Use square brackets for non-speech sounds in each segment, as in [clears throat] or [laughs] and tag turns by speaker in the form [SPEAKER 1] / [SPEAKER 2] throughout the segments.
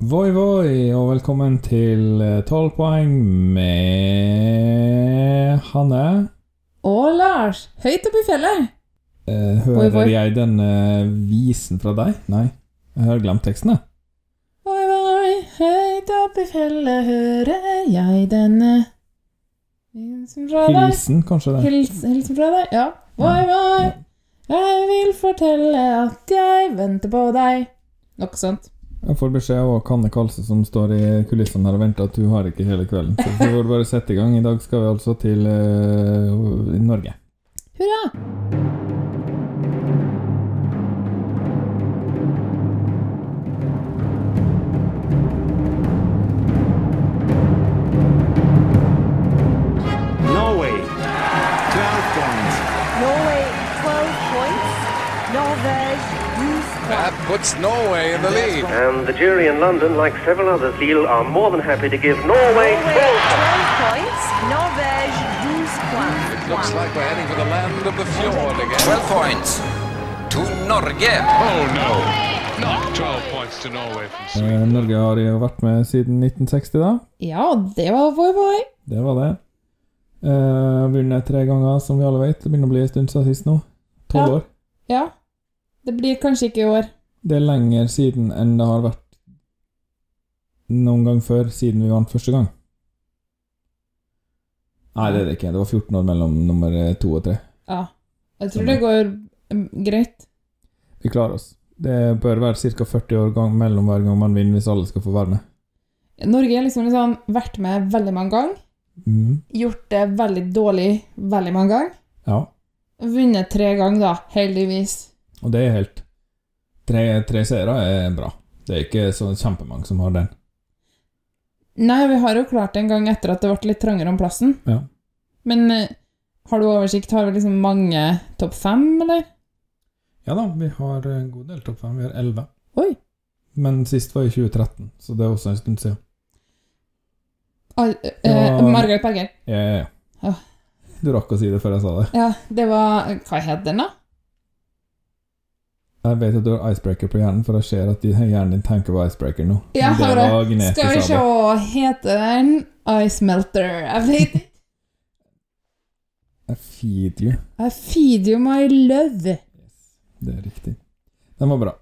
[SPEAKER 1] Voi, voi, og velkommen til eh, 12 poeng med Hanne.
[SPEAKER 2] Og Lars, høyt oppe i fjellet.
[SPEAKER 1] Eh,
[SPEAKER 2] Voi,
[SPEAKER 1] hører
[SPEAKER 2] voi.
[SPEAKER 1] jeg den eh, visen fra deg? Nei, jeg har glemt teksten, jeg.
[SPEAKER 2] Oi, oi, høyt oppe i fjellet hører jeg denne Hilsen fra deg.
[SPEAKER 1] Hilsen, kanskje det.
[SPEAKER 2] Hils, hilsen fra deg, ja. Oi, oi, jeg vil fortelle at jeg venter på deg. Noe sånt.
[SPEAKER 1] Jeg får beskjed av Kanne Kalse som står i kulissene her og venter at du har ikke hele kvelden. Så vi får bare sette i gang. I dag skal vi altså til eh, Norge.
[SPEAKER 2] Hurra!
[SPEAKER 3] Norway, 12 points.
[SPEAKER 4] Norway 12 points. Norvège 12 points.
[SPEAKER 5] That puts Norway in the lead.
[SPEAKER 6] And the jury in London, like several others, Lille are more than happy to give Norway
[SPEAKER 4] Norway
[SPEAKER 6] 12
[SPEAKER 4] 12 points. Norvège 12 points.
[SPEAKER 5] It looks like we're heading for the land of the fjord again.
[SPEAKER 7] 12 points to Norge.
[SPEAKER 8] Oh no! Not 12 points to Norway from Sweden.
[SPEAKER 1] Eh, Norge har jo vært med siden 1960, da.
[SPEAKER 2] Ja, det var voi, voi.
[SPEAKER 1] Det var det. Eh, vunnet tre ganger, som vi alle vet. Det begynner å bli en stund siden sist nå. Tolv
[SPEAKER 2] Ja.
[SPEAKER 1] år.
[SPEAKER 2] Ja. Det blir kanskje ikke i år.
[SPEAKER 1] Det er lenger siden enn det har vært noen gang før, siden vi vant første gang. Nei, det er det ikke. Det var 14 år mellom nummer to og tre.
[SPEAKER 2] Ja. Jeg tror det går mm, greit.
[SPEAKER 1] Vi klarer oss. Det bør være ca. 40 år gang mellom hver gang man vinner, hvis alle skal få være med.
[SPEAKER 2] Norge har liksom liksom vært med veldig mange ganger.
[SPEAKER 1] Mm.
[SPEAKER 2] gjort det veldig dårlig veldig mange ganger.
[SPEAKER 1] Ja.
[SPEAKER 2] Vunnet tre ganger, da, heldigvis.
[SPEAKER 1] Og det er helt Tre, tre seere er bra. Det er ikke så kjempemange som har den.
[SPEAKER 2] Nei, vi har jo klart det en gang etter at det ble litt trangere om plassen.
[SPEAKER 1] Ja.
[SPEAKER 2] Men eh, har du oversikt? Har vi liksom mange topp fem, eller?
[SPEAKER 1] Ja da, vi har en god del topp fem. Vi har 11.
[SPEAKER 2] Oi.
[SPEAKER 1] Men sist var i 2013, så det er også en stund siden.
[SPEAKER 2] Ah, eh,
[SPEAKER 1] Ja.
[SPEAKER 2] Margaret Berger.
[SPEAKER 1] Ja, ja, ja.
[SPEAKER 2] Ja.
[SPEAKER 1] Du rakk å si det før jeg sa det.
[SPEAKER 2] Ja, det var Hva het den, da?
[SPEAKER 1] Jeg vet at du har icebreaker på hjernen, for jeg ser at din- hjernen din tenker på icebreaker nå.
[SPEAKER 2] Ja,
[SPEAKER 1] det
[SPEAKER 2] har
[SPEAKER 1] var
[SPEAKER 2] jeg.
[SPEAKER 1] Gnete
[SPEAKER 2] Skal vi se
[SPEAKER 1] Sabe.
[SPEAKER 2] Heter den Ice Melter? Jeg vet ikke.
[SPEAKER 1] I feed you.
[SPEAKER 2] I feed you my love.
[SPEAKER 1] Det er riktig. Den var bra.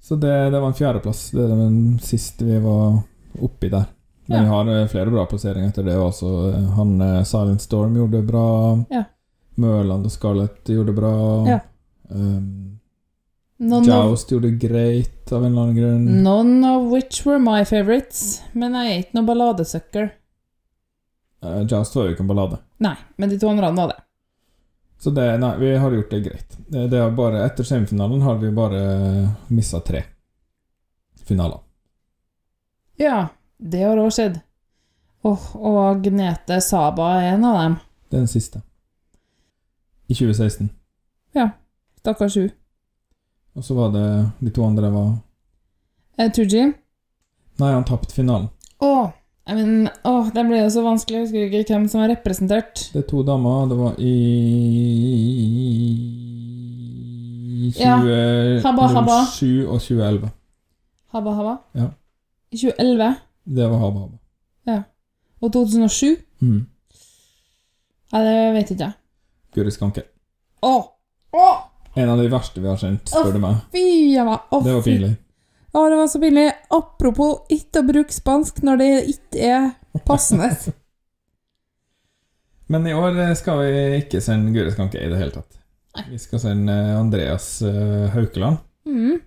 [SPEAKER 1] Så det, det var en fjerdeplass. Det er den siste vi var oppi der. Men
[SPEAKER 2] Ja.
[SPEAKER 1] vi har eh, flere bra plasseringer etter det også. Han eh, Silent Storm gjorde bra.
[SPEAKER 2] Ja.
[SPEAKER 1] Mørland og Scarlett gjorde bra.
[SPEAKER 2] Ja.
[SPEAKER 1] Um,
[SPEAKER 2] None of,
[SPEAKER 1] Joust gjorde greit av en eller annen grunn.
[SPEAKER 2] none of which were my favorites, men jeg er ikke noe balladesøkker.
[SPEAKER 1] Eh, Joust var jo ikke en ballade.
[SPEAKER 2] Nei, men de to andre var det.
[SPEAKER 1] Så det, nei, vi har gjort det greit. Det, det er bare, etter semifinalen har vi bare missa tre finaler.
[SPEAKER 2] Ja, det har òg skjedd. Åh, og Gnete Saba er en av dem.
[SPEAKER 1] Den siste. I 2016.
[SPEAKER 2] Stakkars hun.
[SPEAKER 1] Og så var det de to andre var
[SPEAKER 2] Eh, Tooji.
[SPEAKER 1] Nei, han tapte finalen.
[SPEAKER 2] Åh, jeg mener, åh, det ble jo så vanskelig. Jeg husker ikke hvem som var representert.
[SPEAKER 1] Det er to damer, det var i
[SPEAKER 2] Ja.
[SPEAKER 1] 2007
[SPEAKER 2] Habba, habba.
[SPEAKER 1] og 2011.
[SPEAKER 2] Habba Habba.
[SPEAKER 1] Ja.
[SPEAKER 2] I 2011
[SPEAKER 1] Det var Habba Habba.
[SPEAKER 2] og 2007.
[SPEAKER 1] Mm.
[SPEAKER 2] Nei, det vet ikke jeg.
[SPEAKER 1] Guri Skanke.
[SPEAKER 2] Åh, åh,
[SPEAKER 1] En av de verste vi har kjent, spør du meg.
[SPEAKER 2] fy jeg var- åh,
[SPEAKER 1] Det var
[SPEAKER 2] fy.
[SPEAKER 1] pinlig.
[SPEAKER 2] Å, det var så pinlig. Apropos ikke å bruke spansk når det ikke er passende.
[SPEAKER 1] [laughs] Men i år eh, skal vi ikke sende Guri Skanke i det hele tatt. Vi skal sende eh, Andreas eh, Haukeland.
[SPEAKER 2] mm.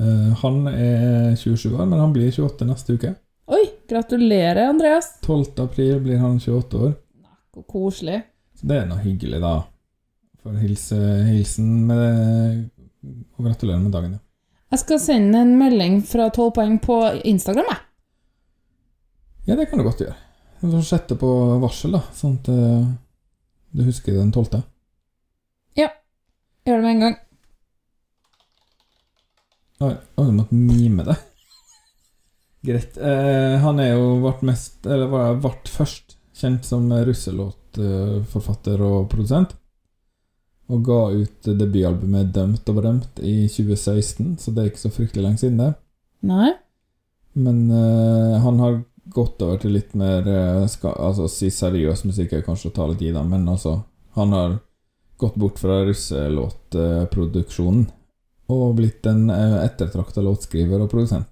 [SPEAKER 1] Eh, Han er 27 år, men han blir 28 neste uke.
[SPEAKER 2] Oi, gratulerer, Andreas.
[SPEAKER 1] 12. april blir han 28 år.
[SPEAKER 2] Så koselig.
[SPEAKER 1] Så det er noe hyggelig, da. For hilse, hilsen med og gratulerer med dagen. Ja.
[SPEAKER 2] Jeg skal sende en melding fra 12 poeng på Instagram, jeg.
[SPEAKER 1] ja, det kan du godt gjøre. Du får sette på varsel, da, sånn at eh, du husker den 12.
[SPEAKER 2] Gjør det med en gang.
[SPEAKER 1] Oi, oi, du måtte mime det. Greit. Eh, han er jo vårt mest Eller var vart først kjent som russelåtforfatter og produsent. Og ga ut debutalbumet 'Dømt og berømt' i 2016, så det er ikke så fryktelig lenge siden, det.
[SPEAKER 2] Nei.
[SPEAKER 1] Men eh, han har gått over til litt mer eh, ska, Altså si seriøs musikk er kanskje å ta litt i, da, men altså Han har gått bort fra russelåtproduksjonen og blitt en ettertrakta låtskriver og produsent.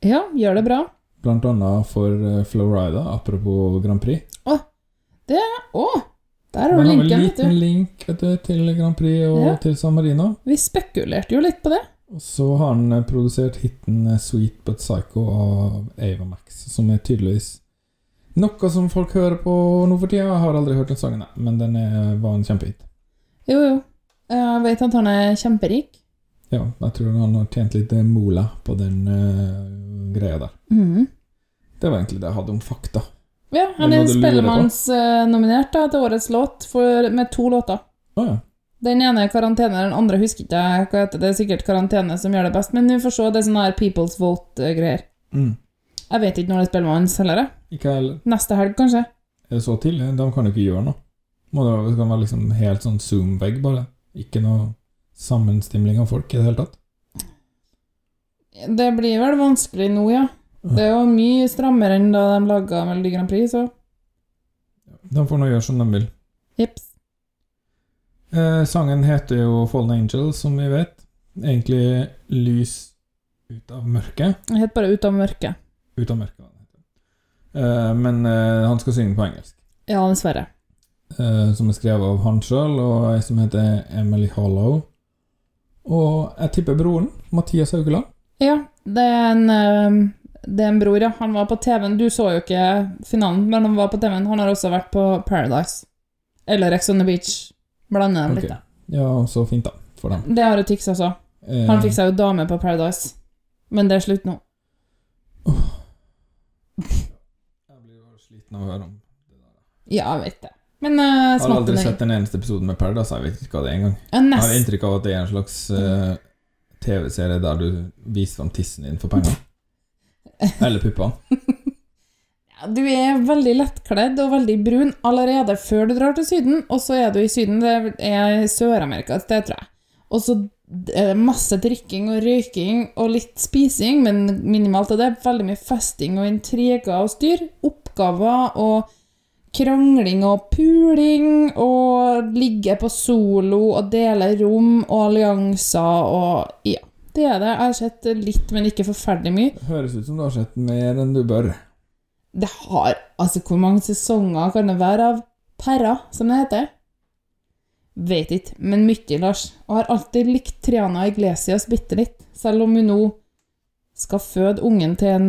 [SPEAKER 2] Ja, gjør det bra.
[SPEAKER 1] Blant annet for eh, Florida, apropos Grand Prix.
[SPEAKER 2] Å, der har
[SPEAKER 1] Men han har
[SPEAKER 2] du linken,
[SPEAKER 1] en
[SPEAKER 2] vet
[SPEAKER 1] liten
[SPEAKER 2] du.
[SPEAKER 1] link vet du, til Grand Prix og
[SPEAKER 2] Ja.
[SPEAKER 1] til San Marino.
[SPEAKER 2] Vi spekulerte jo litt på det.
[SPEAKER 1] Og så har han eh, produsert hiten eh, 'Sweet But Psycho' av Ava Max, som er tydeligvis noe som folk hører på nå for tida. Jeg har aldri hørt den sangen, nei, men den er, eh, var en kjempehit.
[SPEAKER 2] Jo, jo. Jeg vet at han er kjemperik.
[SPEAKER 1] Ja, jeg tror han har tjent litt eh, mola på den eh, greia der.
[SPEAKER 2] Mhm.
[SPEAKER 1] Det var egentlig det jeg hadde om fakta.
[SPEAKER 2] Ja, han
[SPEAKER 1] Men
[SPEAKER 2] er
[SPEAKER 1] hva du lurer på?
[SPEAKER 2] Spellemanns-nominert da, til årets låt for, med to låter.
[SPEAKER 1] Å ja.
[SPEAKER 2] Den ene er karantene, den andre husker ikke jeg hva heter. Det er sikkert karantene som gjør det best, men vi får se. Det er sånne her People's Vote-greier.
[SPEAKER 1] Mm.
[SPEAKER 2] Jeg vet ikke når det er Spellemanns heller. jeg.
[SPEAKER 1] Ikke jeg heller.
[SPEAKER 2] Neste helg, kanskje?
[SPEAKER 1] Er det så tidlig? De kan jo ikke gjøre noe. Må det være- det kan være liksom helt sånn zoom-vegg, bare. Ikke noe sammenstimling av folk i det hele tatt.
[SPEAKER 2] Det blir vel vanskelig nå, ja. Det er jo mye strammere enn da de laga Melodi Grand Prix, så
[SPEAKER 1] De får nå gjøre som de vil.
[SPEAKER 2] jips.
[SPEAKER 1] Eh, sangen heter jo Fallen Angel, som vi vet. Egentlig Lys ut av mørket.
[SPEAKER 2] Jeg heter bare Ut av mørket.
[SPEAKER 1] Ut av mørket, hva den heter. Eh, men eh, han skal synge på engelsk.
[SPEAKER 2] Ja, dessverre.
[SPEAKER 1] Eh, som er skrevet av han sjøl, og ei som heter Emily Hollow. Og jeg tipper broren, Mathias Haugeland.
[SPEAKER 2] Ja, det er en, eh, det er en bror, ja. Han var på TV-en. Du så jo ikke finalen, men han var på TV-en. Han har også vært på Paradise. Eller Ex on the Beach. Blander dem
[SPEAKER 1] Ok.
[SPEAKER 2] litt, da.
[SPEAKER 1] Ja, så fint, da. For dem.
[SPEAKER 2] Det har jo Tix også.
[SPEAKER 1] Eh,
[SPEAKER 2] Han fikk seg jo dame på Paradise. Men det er slutt nå.
[SPEAKER 1] Jeg blir jo sliten av å høre om
[SPEAKER 2] Ja, jeg vet det. Men uh,
[SPEAKER 1] Jeg har
[SPEAKER 2] smatt
[SPEAKER 1] aldri
[SPEAKER 2] den
[SPEAKER 1] sett en eneste episode med Paradise, jeg vet ikke hva det er engang. Jeg
[SPEAKER 2] Ja,
[SPEAKER 1] har
[SPEAKER 2] nest-
[SPEAKER 1] inntrykk av at det er en slags eh, TV-serie der du viser fram tissen din for penger. Eller puppene.
[SPEAKER 2] Ja, Du er veldig lettkledd og veldig brun allerede før du drar til Syden, og så er du i Syden, det er Sør-Amerika et sted, tror jeg. Og så er det masse drikking og røyking og litt spising, men minimalt av det. Veldig mye festing og intriger og styr. Oppgaver og krangling og puling og ligge på solo og dele rom og allianser og Ja, det er det. Jeg har sett litt, men ikke forferdelig mye.
[SPEAKER 1] Høres ut som du har sett mer enn du bør.
[SPEAKER 2] Det har Altså, hvor mange sesonger kan det være av pæra, som det heter? Vet ikke, men mye, Lars. Og har alltid likt Triana Iglesias bitte litt, selv om hun nå skal føde ungen til en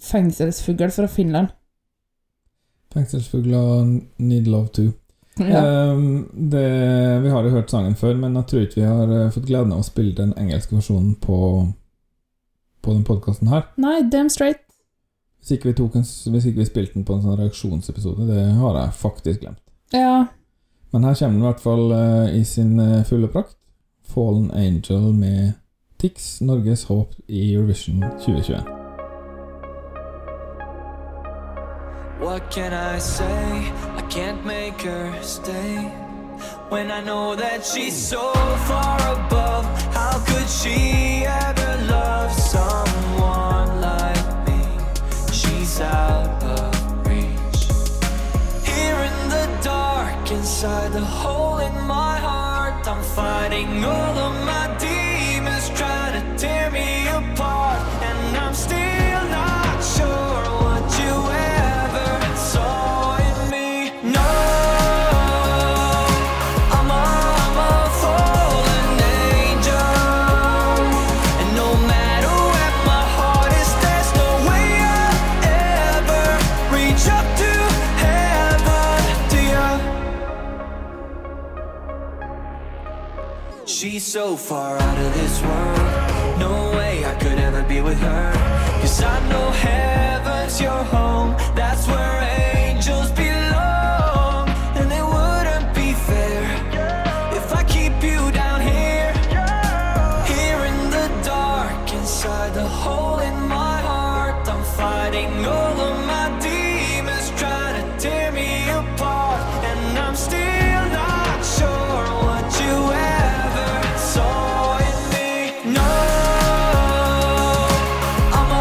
[SPEAKER 2] fengselsfugl fra Finland. [laughs]
[SPEAKER 1] Fengselsfugler need love too.
[SPEAKER 2] Ja.
[SPEAKER 1] Ehm, det, vi har jo hørt sangen før, men jeg tror ikke vi har eh, fått gleden av å spille den engelske versjonen på, på den podkasten her.
[SPEAKER 2] Nei, damn straight.
[SPEAKER 1] Hvis ikke, vi tok en, s- hvis ikke vi spilte den på en sånn reaksjonsepisode, det har jeg faktisk glemt.
[SPEAKER 2] Ja.
[SPEAKER 1] Men her kommer den i hvert fall eh, i sin eh, fulle prakt. Fallen Angel med Tix, Norges håp i Eurovision 2021.
[SPEAKER 9] What can I say? I can't make her stay. When I know that she's so far above, how could she ever love someone like me? She's out of reach. Here in the dark, inside the hole in my heart, I'm fighting all of my demons trying to tear me apart, and I'm still not sure what you ever saw in me. No, I'm a, I'm a fallen angel, and no matter where my heart is, there's no way I'll ever reach up to heaven. Do you? She's so far out of this world. No way I could ever be with her. Cause I know heaven's your home. That's where angels belong. And it wouldn't be fair if I keep you down here. Here in the dark, inside the hole in my heart, I'm fighting all of my demons trying to tear me apart. And I'm still not sure what you ever saw in me. No, I'm a,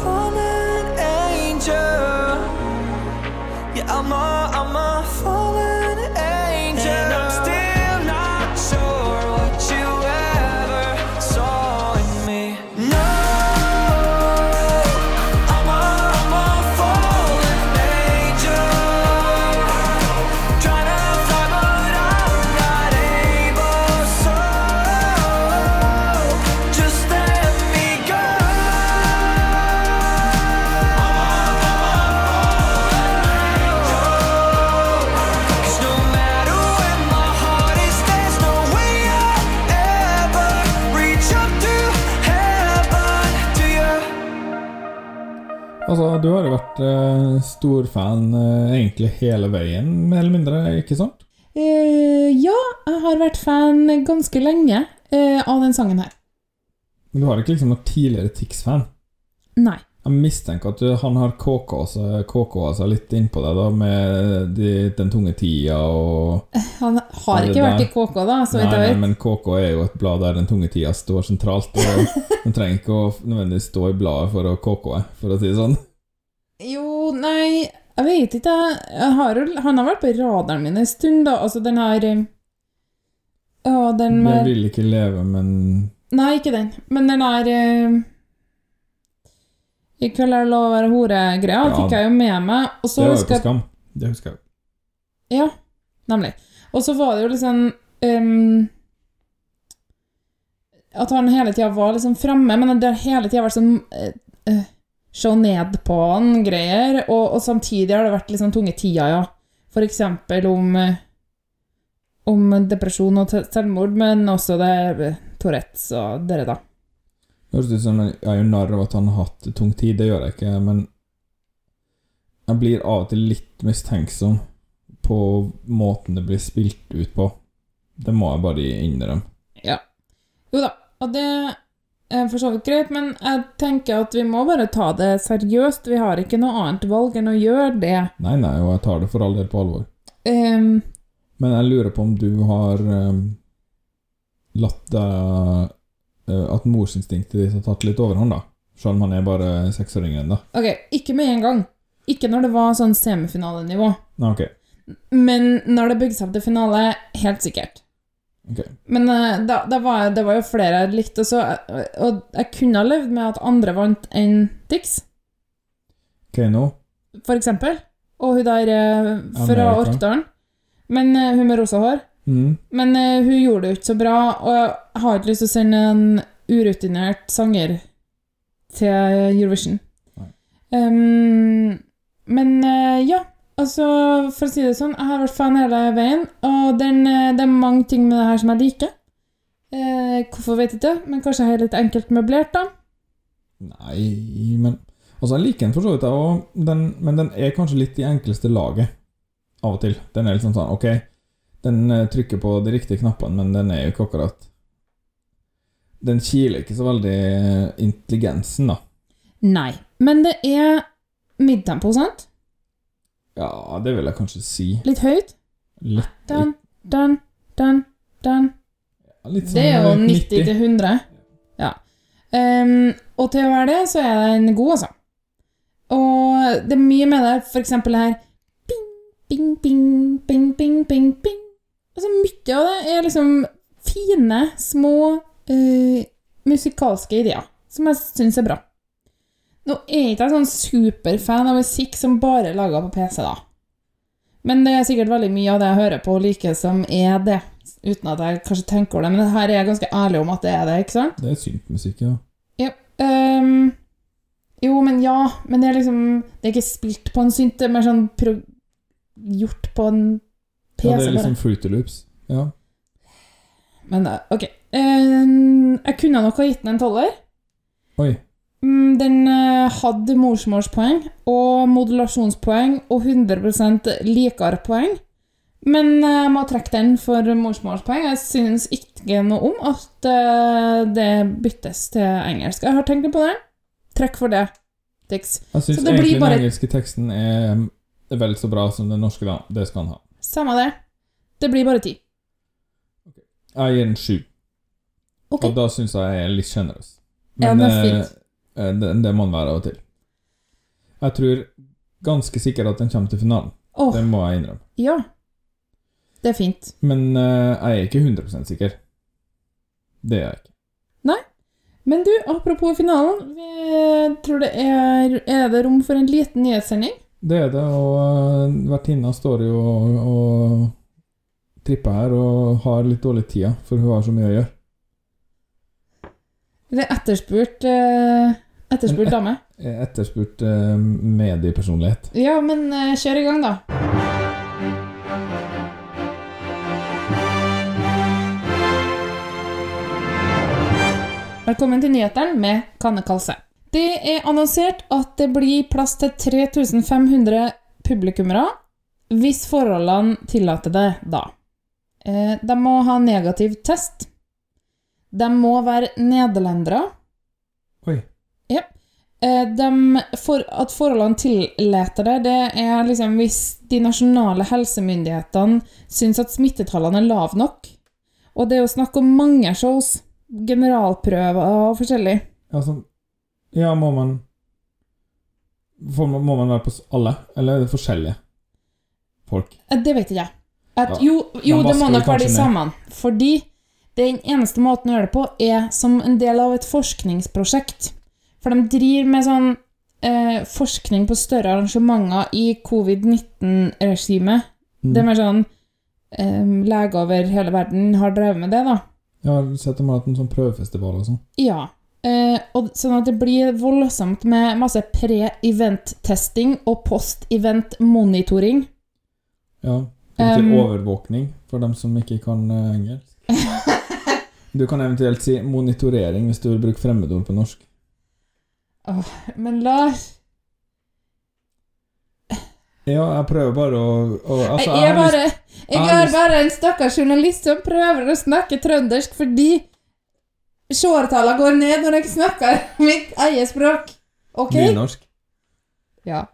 [SPEAKER 9] from an angel. Yeah, I'm a, I'm a fallen angel. And I'm still not sure what you ever saw in me. No, I'm a, I'm a fallen angel. Trying to fly, but I'm not able. So just let me go. Cause no matter where my heart is, there's no way I ever reach up to heaven. Do you?
[SPEAKER 1] Altså, du har jo vært eh, stor fan eh, egentlig hele veien, mer eller mindre, ikke sant?
[SPEAKER 2] Eh, ja, jeg har vært fan ganske lenge eh, av den sangen her.
[SPEAKER 1] Men du har ikke liksom noen tidligere Tix-fan?
[SPEAKER 2] Nei.
[SPEAKER 1] Jeg mistenker at du, han har KK-a seg KK-a seg litt innpå deg, da, med eh, de, den tunge tida og
[SPEAKER 2] Han har
[SPEAKER 1] Er det
[SPEAKER 2] ikke vært
[SPEAKER 1] der?
[SPEAKER 2] i KK, da,
[SPEAKER 1] Nei,
[SPEAKER 2] så vidt jeg
[SPEAKER 1] nei,
[SPEAKER 2] vet.
[SPEAKER 1] men KK er jo et blad der den tunge tida står sentralt.
[SPEAKER 2] [laughs]
[SPEAKER 1] Og den trenger ikke å nødvendigvis stå i bladet for å KK-e, for å si det sånn.
[SPEAKER 2] Jo, nei, jeg vet ikke. jeg- Jeg har, jo- han har vært på radaren min en stund, da. Altså, den her eh, Ja, den
[SPEAKER 1] Jeg
[SPEAKER 2] med
[SPEAKER 1] vil ikke leve, men
[SPEAKER 2] Nei, ikke den. Men den der eh, I kveld er det lov å være hore-greia
[SPEAKER 1] Ja.
[SPEAKER 2] fikk jeg jo med meg. Og så
[SPEAKER 1] Det var jo
[SPEAKER 2] husker
[SPEAKER 1] på
[SPEAKER 2] jeg
[SPEAKER 1] Skam. Det husker jeg.
[SPEAKER 2] Ja, nemlig. Og så var det jo liksom ehm, At han hele tida var liksom framme, men det har hele tida vært sånn eh, eh, Se ned på han-greier. Og, og samtidig har det vært liksom tunge tida, ja. For eksempel om eh, om depresjon og te- selvmord, men også det eh, Tourettes og dere, da.
[SPEAKER 1] Det høres ut som jeg er jo narr av at han har hatt tung tid, det gjør jeg ikke, men jeg blir av og til litt mistenksom på måten det blir spilt ut på. Det må jeg bare innrømme.
[SPEAKER 2] Jo da, og det er for så vidt greit, men jeg tenker at vi må bare ta det seriøst. Vi har ikke noe annet valg enn å gjøre det.
[SPEAKER 1] Nei, nei, og jeg tar det for all del på alvor.
[SPEAKER 2] Ehm,
[SPEAKER 1] Men jeg lurer på om du har eh, latt deg eh, At morsinstinktet ditt har tatt litt overhånd, da. Selv om han er bare seksåring ennå.
[SPEAKER 2] ok, ikke med en gang. Ikke når det var sånn semifinalenivå.
[SPEAKER 1] Nei, ok.
[SPEAKER 2] Men når det bygde seg opp til finale, helt sikkert.
[SPEAKER 1] Ok.
[SPEAKER 2] Men eh, da, da var, jeg- det var jo flere jeg likte, og, så, eh, og jeg kunne ha levd med at andre vant enn Dix,
[SPEAKER 1] Keiino?
[SPEAKER 2] for eksempel. Og hun der eh, fra
[SPEAKER 1] Amerika.
[SPEAKER 2] Orkdalen. Men eh, hun med rosa hår.
[SPEAKER 1] Mm.
[SPEAKER 2] Men eh, hun gjorde det jo ikke så bra, og jeg har ikke lyst til å sende en urutinert sanger til Eurovision.
[SPEAKER 1] Nei.
[SPEAKER 2] Ehm, men eh, ja, altså for å si det sånn, jeg har vært fan hele veien, og den, eh, det er mange ting med det her som jeg liker. Eh, hvorfor vet jeg ikke, men kanskje jeg er litt enkelt møblert, da.
[SPEAKER 1] Nei, men Altså, jeg liker den for så vidt, jeg også, den- men den er kanskje litt i enkleste laget av og til. Den er liksom sånn Ok, den eh, trykker på de riktige knappene, men den er jo ikke akkurat Den kiler ikke så veldig eh, intelligensen, da.
[SPEAKER 2] Nei. Men det er midtempo, sant?
[SPEAKER 1] Ja, det vil jeg kanskje si.
[SPEAKER 2] Litt høyt.
[SPEAKER 1] Litt,
[SPEAKER 2] Dan, dan, dan, dan.
[SPEAKER 1] litt
[SPEAKER 2] Det er jo
[SPEAKER 1] eh,
[SPEAKER 2] 90 til 100. Ja. Ehm, og til å være det, så er den god, altså. Og det er mye med det, for eksempel det her Bing, bing, bing, bing, bing, bing, bing. Altså, mye av det er liksom fine, små eh, musikalske ideer, som jeg syns er bra. Nå er ikke jeg sånn superfan av musikk som bare er laga på PC, da. Men det er sikkert veldig mye av det jeg hører på og liker, som er det. Uten at jeg kanskje tenker over det, men det her er jeg ganske ærlig om at det er det, ikke sant?
[SPEAKER 1] Det er syntmusikk, ja.
[SPEAKER 2] Ja. Øhm, jo, men ja. Men det er liksom Det er ikke spilt på en synt, det er mer sånn pro gjort på en PC.
[SPEAKER 1] ja. Det er
[SPEAKER 2] bare.
[SPEAKER 1] liksom Fruity Loops. Ja.
[SPEAKER 2] Men eh, ok. Øhm, jeg kunne nok ha gitt den en tolver.
[SPEAKER 1] Oi.
[SPEAKER 2] Mm, Den eh, hadde morsmålspoeng og modulasjonspoeng og 100 likere poeng. Men eh, jeg må trekke den for morsmålspoeng. Jeg syns ikke noe om at eh, det byttes til engelsk. Jeg har tenkt litt på det. Trekk for det. Dix.
[SPEAKER 1] Jeg syns
[SPEAKER 2] det blir
[SPEAKER 1] egentlig
[SPEAKER 2] bare-
[SPEAKER 1] den engelske teksten er mm, vel så bra som den norske, da. Det skal han ha.
[SPEAKER 2] Samme det. Det blir bare ti.
[SPEAKER 1] Jeg gir den sju.
[SPEAKER 2] Ok.
[SPEAKER 1] Og da syns jeg jeg er litt sjenerøs.
[SPEAKER 2] Ja,
[SPEAKER 1] Men
[SPEAKER 2] det er
[SPEAKER 1] eh,
[SPEAKER 2] fint.
[SPEAKER 1] Eh, Det, det må den være av og til. Jeg tror ganske sikkert at den kommer til finalen.
[SPEAKER 2] Åh,
[SPEAKER 1] Det må jeg innrømme.
[SPEAKER 2] ja. Det er fint.
[SPEAKER 1] Men eh, jeg er ikke 100 sikker. Det er jeg ikke.
[SPEAKER 2] Men du, apropos finalen. Vi eh, tror det er Er det rom for en liten nyhetssending?
[SPEAKER 1] Det er det, og eh, vertinna står jo og, og tripper her og har litt dårlig tid, for hun har så mye å gjøre.
[SPEAKER 2] Eller etterspurt eh, Etterspurt dame.
[SPEAKER 1] Eh, Etterspurt eh, mediepersonlighet.
[SPEAKER 2] Ja, men eh, kjør i gang, da. Velkommen til nyhetene med Kanne Kalse. Det er annonsert at det blir plass til 3500 publikummere, hvis forholdene tillater det, da. Eh, De må ha negativ test. De må være nederlendere.
[SPEAKER 1] Oi.
[SPEAKER 2] Eh, dem- for, at forholdene tillater det, det er liksom hvis de nasjonale helsemyndighetene syns at smittetallene er lave nok. Og det er jo snakk om mange shows. Generalprøver og forskjellig. eh,
[SPEAKER 1] Altså Ja, må man får man- Må man være på s- alle, eller er det forskjellige folk?
[SPEAKER 2] Eh, Det vet ikke jeg. At,
[SPEAKER 1] Ja,
[SPEAKER 2] jo, jo
[SPEAKER 1] de
[SPEAKER 2] det må
[SPEAKER 1] vasker
[SPEAKER 2] nok være
[SPEAKER 1] kanskje
[SPEAKER 2] de
[SPEAKER 1] ned.
[SPEAKER 2] samme. Fordi den eneste måten å gjøre det på er som en del av et forskningsprosjekt. For de driver med sånn eh, forskning på større arrangementer i covid-19-regimet. Det
[SPEAKER 1] Mm.
[SPEAKER 2] er mer sånn eh, Leger over hele verden har drevet med det, da.
[SPEAKER 1] Jeg har sett dem har hatt en sånn prøvefestival og sånn.
[SPEAKER 2] Ja. Eh, og sånn at det blir voldsomt med masse pre-event-testing og post-event-monitoring.
[SPEAKER 1] Ja. Det betyr
[SPEAKER 2] Um,
[SPEAKER 1] overvåkning, for dem som ikke kan eh,
[SPEAKER 2] [laughs]
[SPEAKER 1] engelsk. Du kan eventuelt si monitorering hvis du vil bruke fremmedord på norsk.
[SPEAKER 2] Men Lars
[SPEAKER 1] Ja, jeg prøver bare å, å altså,
[SPEAKER 2] jeg, er
[SPEAKER 1] har lyst-
[SPEAKER 2] bare,
[SPEAKER 1] jeg
[SPEAKER 2] jeg
[SPEAKER 1] har
[SPEAKER 2] er
[SPEAKER 1] lyst-
[SPEAKER 2] bare en stakkars journalist som prøver å snakke trøndersk fordi seertallene går ned når jeg snakker [laughs] mitt eget språk. OK?
[SPEAKER 1] Nynorsk.
[SPEAKER 2] Ja.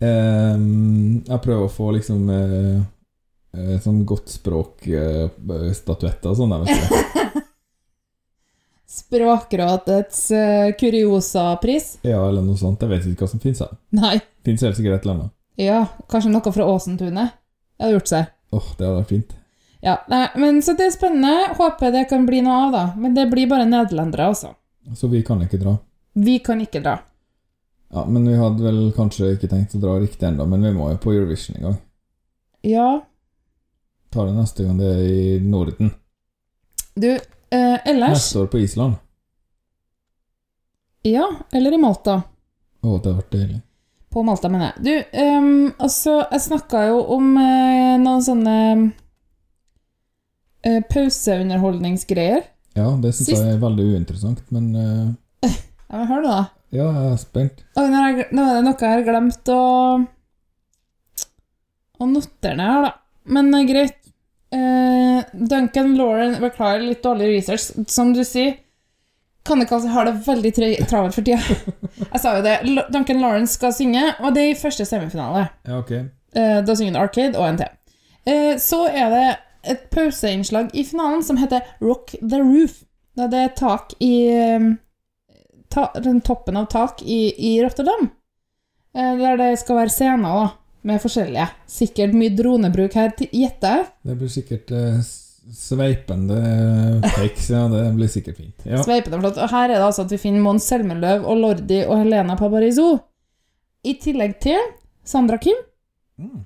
[SPEAKER 1] Ehm, jeg prøver å få liksom eh, eh, sånn godt språk-statuetter og sånn. jeg vet ikke.
[SPEAKER 2] Språkrådets eh, kuriosapris?
[SPEAKER 1] Ja, eller noe sånt. Jeg vet ikke hva som fins her.
[SPEAKER 2] Nei.
[SPEAKER 1] Fins helt sikkert et eller annet.
[SPEAKER 2] Ja, kanskje noe fra Åsentunet? Det hadde gjort seg.
[SPEAKER 1] Åh, det hadde vært fint.
[SPEAKER 2] Ja, nei, men Så det er spennende. Håper det kan bli noe av, da. Men det blir bare nederlendere, altså.
[SPEAKER 1] Så vi kan ikke dra.
[SPEAKER 2] Vi kan ikke dra.
[SPEAKER 1] Ja, Men vi hadde vel kanskje ikke tenkt å dra riktig ennå, men vi må jo på Eurovision en gang.
[SPEAKER 2] Ja,
[SPEAKER 1] Tar det neste gang det er i Norden.
[SPEAKER 2] du eh, Ellers
[SPEAKER 1] Neste år på Island.
[SPEAKER 2] Ja, eller i Malta.
[SPEAKER 1] Å, det hadde vært deilig.
[SPEAKER 2] På Malta, mener jeg. Du, ehm, altså, jeg snakka jo om eh, noen sånne eh, pauseunderholdningsgreier.
[SPEAKER 1] Ja, det syns
[SPEAKER 2] Sist-
[SPEAKER 1] jeg er veldig uinteressant, men eh,
[SPEAKER 2] Ja, men hør nå, da.
[SPEAKER 1] ja, jeg er spent.
[SPEAKER 2] Oi, nå, har jeg, gl- nå er det noe jeg har glemt å Å notere ned her, da. Men eh, greit. Eh, Duncan Lauren Beklager, litt dårlig research. Som du sier, Kannekall har det veldig tre- travelt for tida. Jeg sa jo det. L- Duncan Lauren skal synge, og det er i første semifinale.
[SPEAKER 1] Ja, ok.
[SPEAKER 2] Eh, Da synger han Arcade og NT. Eh, Så er det et pauseinnslag i finalen som heter Rock the Roof. Da det er tak i eh, ta, den Toppen av tak i, i Rotterdam. Eh, Der det skal være scener da, med forskjellige. Sikkert mye dronebruk her, til- gjetter jeg.
[SPEAKER 1] Det blir sikkert eh, s- sveipende fakes, ja. Det blir sikkert fint. Ja.
[SPEAKER 2] Sveipende flott. Og her er det altså at vi finner Mons Selmeløv og Lordi og Helena Paparizou. I tillegg til Sandra Kim.
[SPEAKER 1] Mm.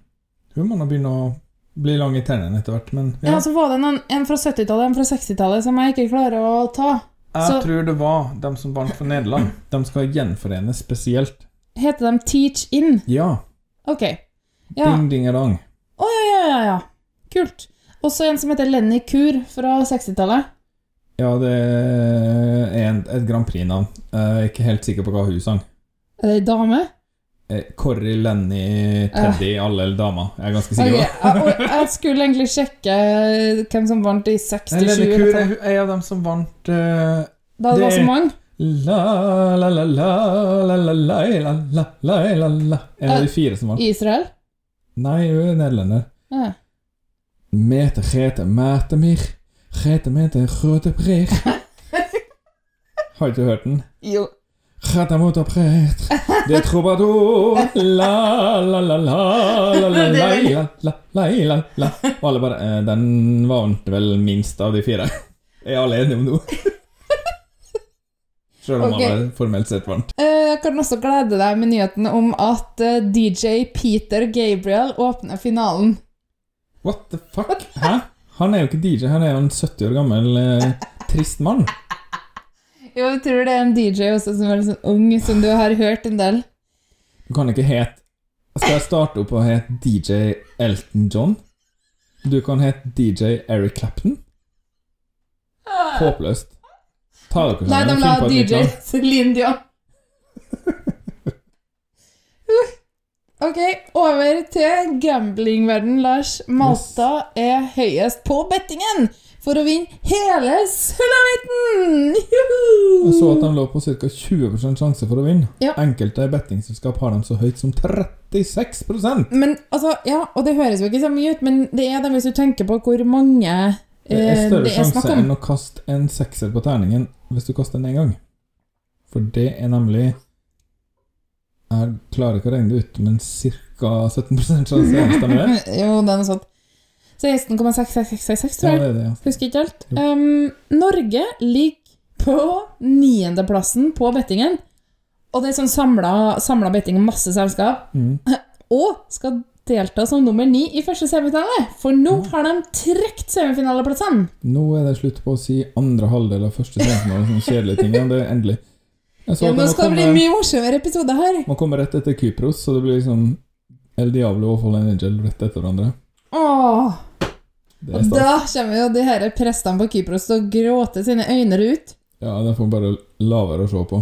[SPEAKER 1] Hun må nå begynne å bli lang i tennene etter hvert, men
[SPEAKER 2] Ja.
[SPEAKER 1] ja.
[SPEAKER 2] så var det noen, en fra 70-tallet og en fra 60-tallet som jeg ikke klarer å ta. så-
[SPEAKER 1] Jeg tror det var dem som vant for Nederland. De skal gjenforenes spesielt.
[SPEAKER 2] Heter de Teach In?
[SPEAKER 1] Ja.
[SPEAKER 2] Ok. Ja.
[SPEAKER 1] Ding, ding, dang.
[SPEAKER 2] Å ja, ja, ja, ja. Kult. Også en som heter Lenny Kur fra 60-tallet.
[SPEAKER 1] Ja, det er en, et Grand Prix-navn. Jeg er ikke helt sikker på hva hun sang.
[SPEAKER 2] Er det ei dame?
[SPEAKER 1] Eh, Corrie, Lenny, Teddy, alle damer. Jeg er ganske
[SPEAKER 2] Eh. Ok,
[SPEAKER 1] sikker på det.
[SPEAKER 2] jeg, og jeg skulle egentlig sjekke eh, hvem som vant i 67.
[SPEAKER 1] Lenny Kur
[SPEAKER 2] eller
[SPEAKER 1] er
[SPEAKER 2] noe.
[SPEAKER 1] hun- er en av dem som vant eh,
[SPEAKER 2] Da det var
[SPEAKER 1] det-
[SPEAKER 2] så mange.
[SPEAKER 1] La la la la la la la la la la la la En av de fire som vant.
[SPEAKER 2] Eh. I Israel?
[SPEAKER 1] Nei, hun er nederlender.
[SPEAKER 2] Ja.
[SPEAKER 1] Mete, grete, mete, mir. Grete, mete, grøte, brer. Har ikke hørt den?
[SPEAKER 2] Jo.
[SPEAKER 1] Retta mot og pret, det er troubadour, la la la la la la la la la la la la Og alle bare eh, Den vant vel minst av de fire. Er alle enige om noe? [laughs] Selv om
[SPEAKER 2] Ok.
[SPEAKER 1] alle formelt sett vant.
[SPEAKER 2] Eh, Jeg kan også glede deg med nyheten om at eh, DJ Peter Gabriel åpner finalen.
[SPEAKER 1] What the fuck? Hæ? Han er jo ikke DJ, han er jo en 70 år gammel eh, trist mann.
[SPEAKER 2] Jo, jeg tror det er en DJ også som er litt sånn ung, som du har hørt en del.
[SPEAKER 1] Du kan ikke het Skal jeg starte opp og hete DJ Elton John? Du kan hete DJ Eric Clapton. Håpløst. Ta dere sammen.
[SPEAKER 2] Nei, de
[SPEAKER 1] finn
[SPEAKER 2] la
[SPEAKER 1] på et nytt
[SPEAKER 2] DJ
[SPEAKER 1] navn.
[SPEAKER 2] Celine Dion. Uh, Ok, over til gamblingverden, Lars. Malta er høyest på bettingen for å vinne hele sulamitten!
[SPEAKER 1] Jeg så at
[SPEAKER 2] Juhu!
[SPEAKER 1] de lå på ca. 20 sjanse for å vinne.
[SPEAKER 2] Ja.
[SPEAKER 1] Enkelte bettingselskap har dem så høyt som 36
[SPEAKER 2] Men altså, ja, og det høres jo ikke så mye ut, men det er det hvis du tenker på hvor mange eh,
[SPEAKER 1] Det er større
[SPEAKER 2] det er snakk
[SPEAKER 1] sjanse
[SPEAKER 2] om.
[SPEAKER 1] enn å kaste en sekser på terningen hvis du kaster den én gang. For det er nemlig Jeg klarer ikke å regne det ut, men ca. 17 sjanse. Stemmer
[SPEAKER 2] [laughs]
[SPEAKER 1] det?
[SPEAKER 2] Jo, den er sånn 16,666,
[SPEAKER 1] Ja,
[SPEAKER 2] tror jeg.
[SPEAKER 1] det er det, ja.
[SPEAKER 2] Husker ikke helt. Um, Norge ligger på niendeplassen på bettingen. Og det er sånn samla, samla betting, masse selskap.
[SPEAKER 1] Mm.
[SPEAKER 2] [clears throat] Og skal delta som nummer ni i første semifinale. For nå har de trukket semifinaleplassene.
[SPEAKER 1] Nå er det slutt på å si andre halvdel av første semifinale som kjedelige ting. ja, Det er endelig. Jeg så
[SPEAKER 2] Ja,
[SPEAKER 1] at
[SPEAKER 2] nå
[SPEAKER 1] det må
[SPEAKER 2] skal det bli
[SPEAKER 1] komme,
[SPEAKER 2] mye morsommere episode her.
[SPEAKER 1] må komme rett etter Kypros, så det blir liksom El Diablo og Fallen Angel rett etter hverandre.
[SPEAKER 2] Åh,
[SPEAKER 1] Det er
[SPEAKER 2] og
[SPEAKER 1] stas.
[SPEAKER 2] da kommer jo de her prestene på Kypros til å gråte sine øyne ut.
[SPEAKER 1] Ja, det får bare la være å se på.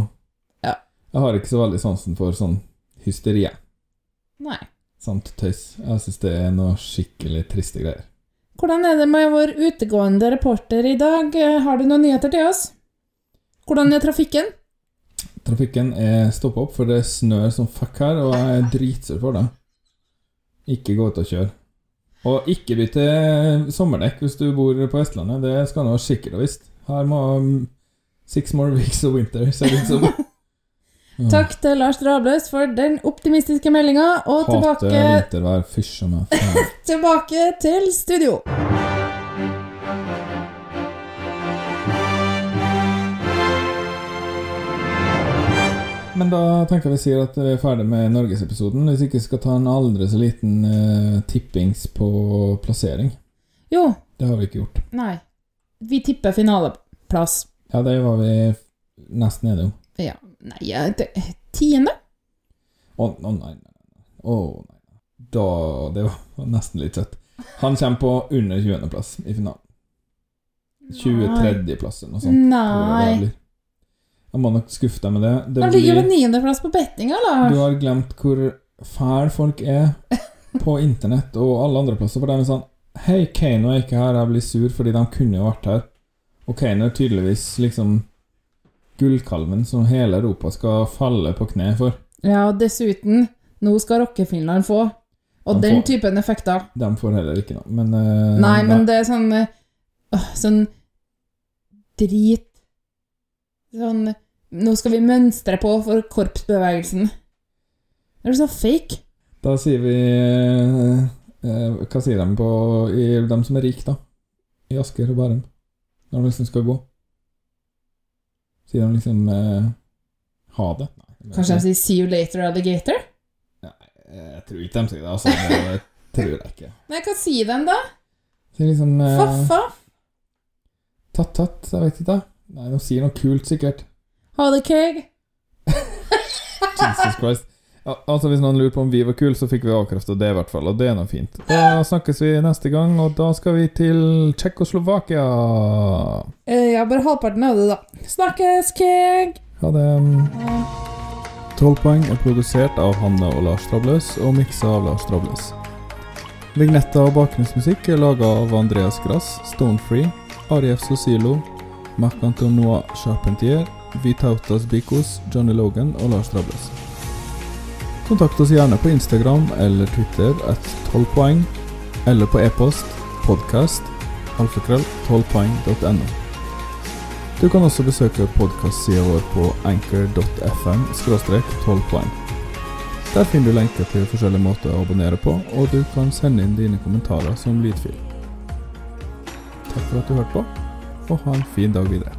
[SPEAKER 2] Ja.
[SPEAKER 1] Jeg har ikke så veldig sansen for sånn hysteri.
[SPEAKER 2] Nei.
[SPEAKER 1] Sant tøys. Jeg syns det er noe skikkelig triste greier.
[SPEAKER 2] Hvordan er det med vår utegående reporter i dag? Har du noen nyheter til oss? Hvordan er trafikken?
[SPEAKER 1] Trafikken er stoppa opp, for det snør som fuck her, og jeg er dritsur for det. Ikke gå ut og kjøre. Og ikke bytte sommerdekk hvis du bor på Vestlandet, det skal nå sikkert og visst. Her må mm, six more weeks of winter, ser det ut som.
[SPEAKER 2] Takk til Lars Drabløs for den optimistiske meldinga, og
[SPEAKER 1] Hater
[SPEAKER 2] tilbake,
[SPEAKER 1] vintervær, fysj og meg. faen.
[SPEAKER 2] tilbake til studio.
[SPEAKER 1] Men da tenker jeg vi sier at vi er ferdig med norgesepisoden, hvis ikke skal ta en aldri så liten eh, tippings på plassering.
[SPEAKER 2] Jo,
[SPEAKER 1] Det har vi ikke gjort.
[SPEAKER 2] nei. Vi tipper finaleplass.
[SPEAKER 1] Ja, det var vi nesten enige om.
[SPEAKER 2] Ja, nei, jeg- det- tiende?
[SPEAKER 1] Å å, nei, nei, nei. Å, nei. Da, det var nesten litt søtt. Han kommer på under 20.-plass i finalen. 23.-plass eller noe sånt. tror jeg Sånn, det
[SPEAKER 2] Nei.
[SPEAKER 1] blir. Jeg må nok skuffe deg med det. det
[SPEAKER 2] Han ligger jo
[SPEAKER 1] blir,
[SPEAKER 2] på niendeplass på bettinga,
[SPEAKER 1] du
[SPEAKER 2] Lars.
[SPEAKER 1] har glemt hvor fæle folk er på internett og alle andre plasser. For de er sånn Hei, Kano er ikke her, jeg blir sur fordi de kunne jo vært her. Og Kano er tydeligvis liksom gullkalven som hele Europa skal falle på kne for.
[SPEAKER 2] Ja, og dessuten, nå skal rockefinland få.
[SPEAKER 1] Han
[SPEAKER 2] Og den
[SPEAKER 1] får-
[SPEAKER 2] typen effekter.
[SPEAKER 1] De får heller ikke noe, men eh,
[SPEAKER 2] Nei, men det er sånn eh, åh, Sånn drit Sånn Nå skal vi mønstre på for korpsbevegelsen. Det er så fake.
[SPEAKER 1] Da sier vi eh, eh, Hva sier de på i, De som er rike, da? I Asker og Bærum. Når de liksom skal gå. Sier de liksom eh, ha det? Nei, jeg vet
[SPEAKER 2] Kanskje
[SPEAKER 1] ikke.
[SPEAKER 2] de sier 'see you later, alligator'?
[SPEAKER 1] Jeg tror ikke de sier det, altså. Det tror jeg
[SPEAKER 2] [laughs]
[SPEAKER 1] ikke.
[SPEAKER 2] Nei, hva sier den, da?
[SPEAKER 1] Sier liksom eh,
[SPEAKER 2] Faffa?
[SPEAKER 1] tatt-tatt, jeg vet ikke. Nei, de sier noe kult, sikkert.
[SPEAKER 2] Ha det keg?
[SPEAKER 1] Jesus Christ. Ja, altså Hvis noen lurer på om vi var kule, så fikk vi avkrefta det, i hvert fall. Og det er nå fint. Da snakkes vi neste gang, og da skal vi til Tsjekkoslovakia.
[SPEAKER 2] Eh, ja, bare halvparten av det, da. Snakkes, keg!
[SPEAKER 1] Ha det. 12 poeng er produsert av Hanne og Lars Trabløs, og miksa av Lars Trabløs. Vignetta og bakgrunnsmusikk er laga av Andreas Grass, Stonefree, Arief Sosilo, Marc-Antonois Charpentier, Vitautas Bikos, Johnny Logan og Lars Trabløs. Kontakt oss gjerne på Instagram eller Twitter at 12 poeng, eller på e-post podcast alfakrøll 12poeng.no. Du kan også besøke podkastsida vår på anchor.fm 12 poeng. Der finner du lenker til forskjellige måter å abonnere på, og du kan sende inn dine kommentarer som lydfil. Takk for at du hørte på, og ha en fin dag videre.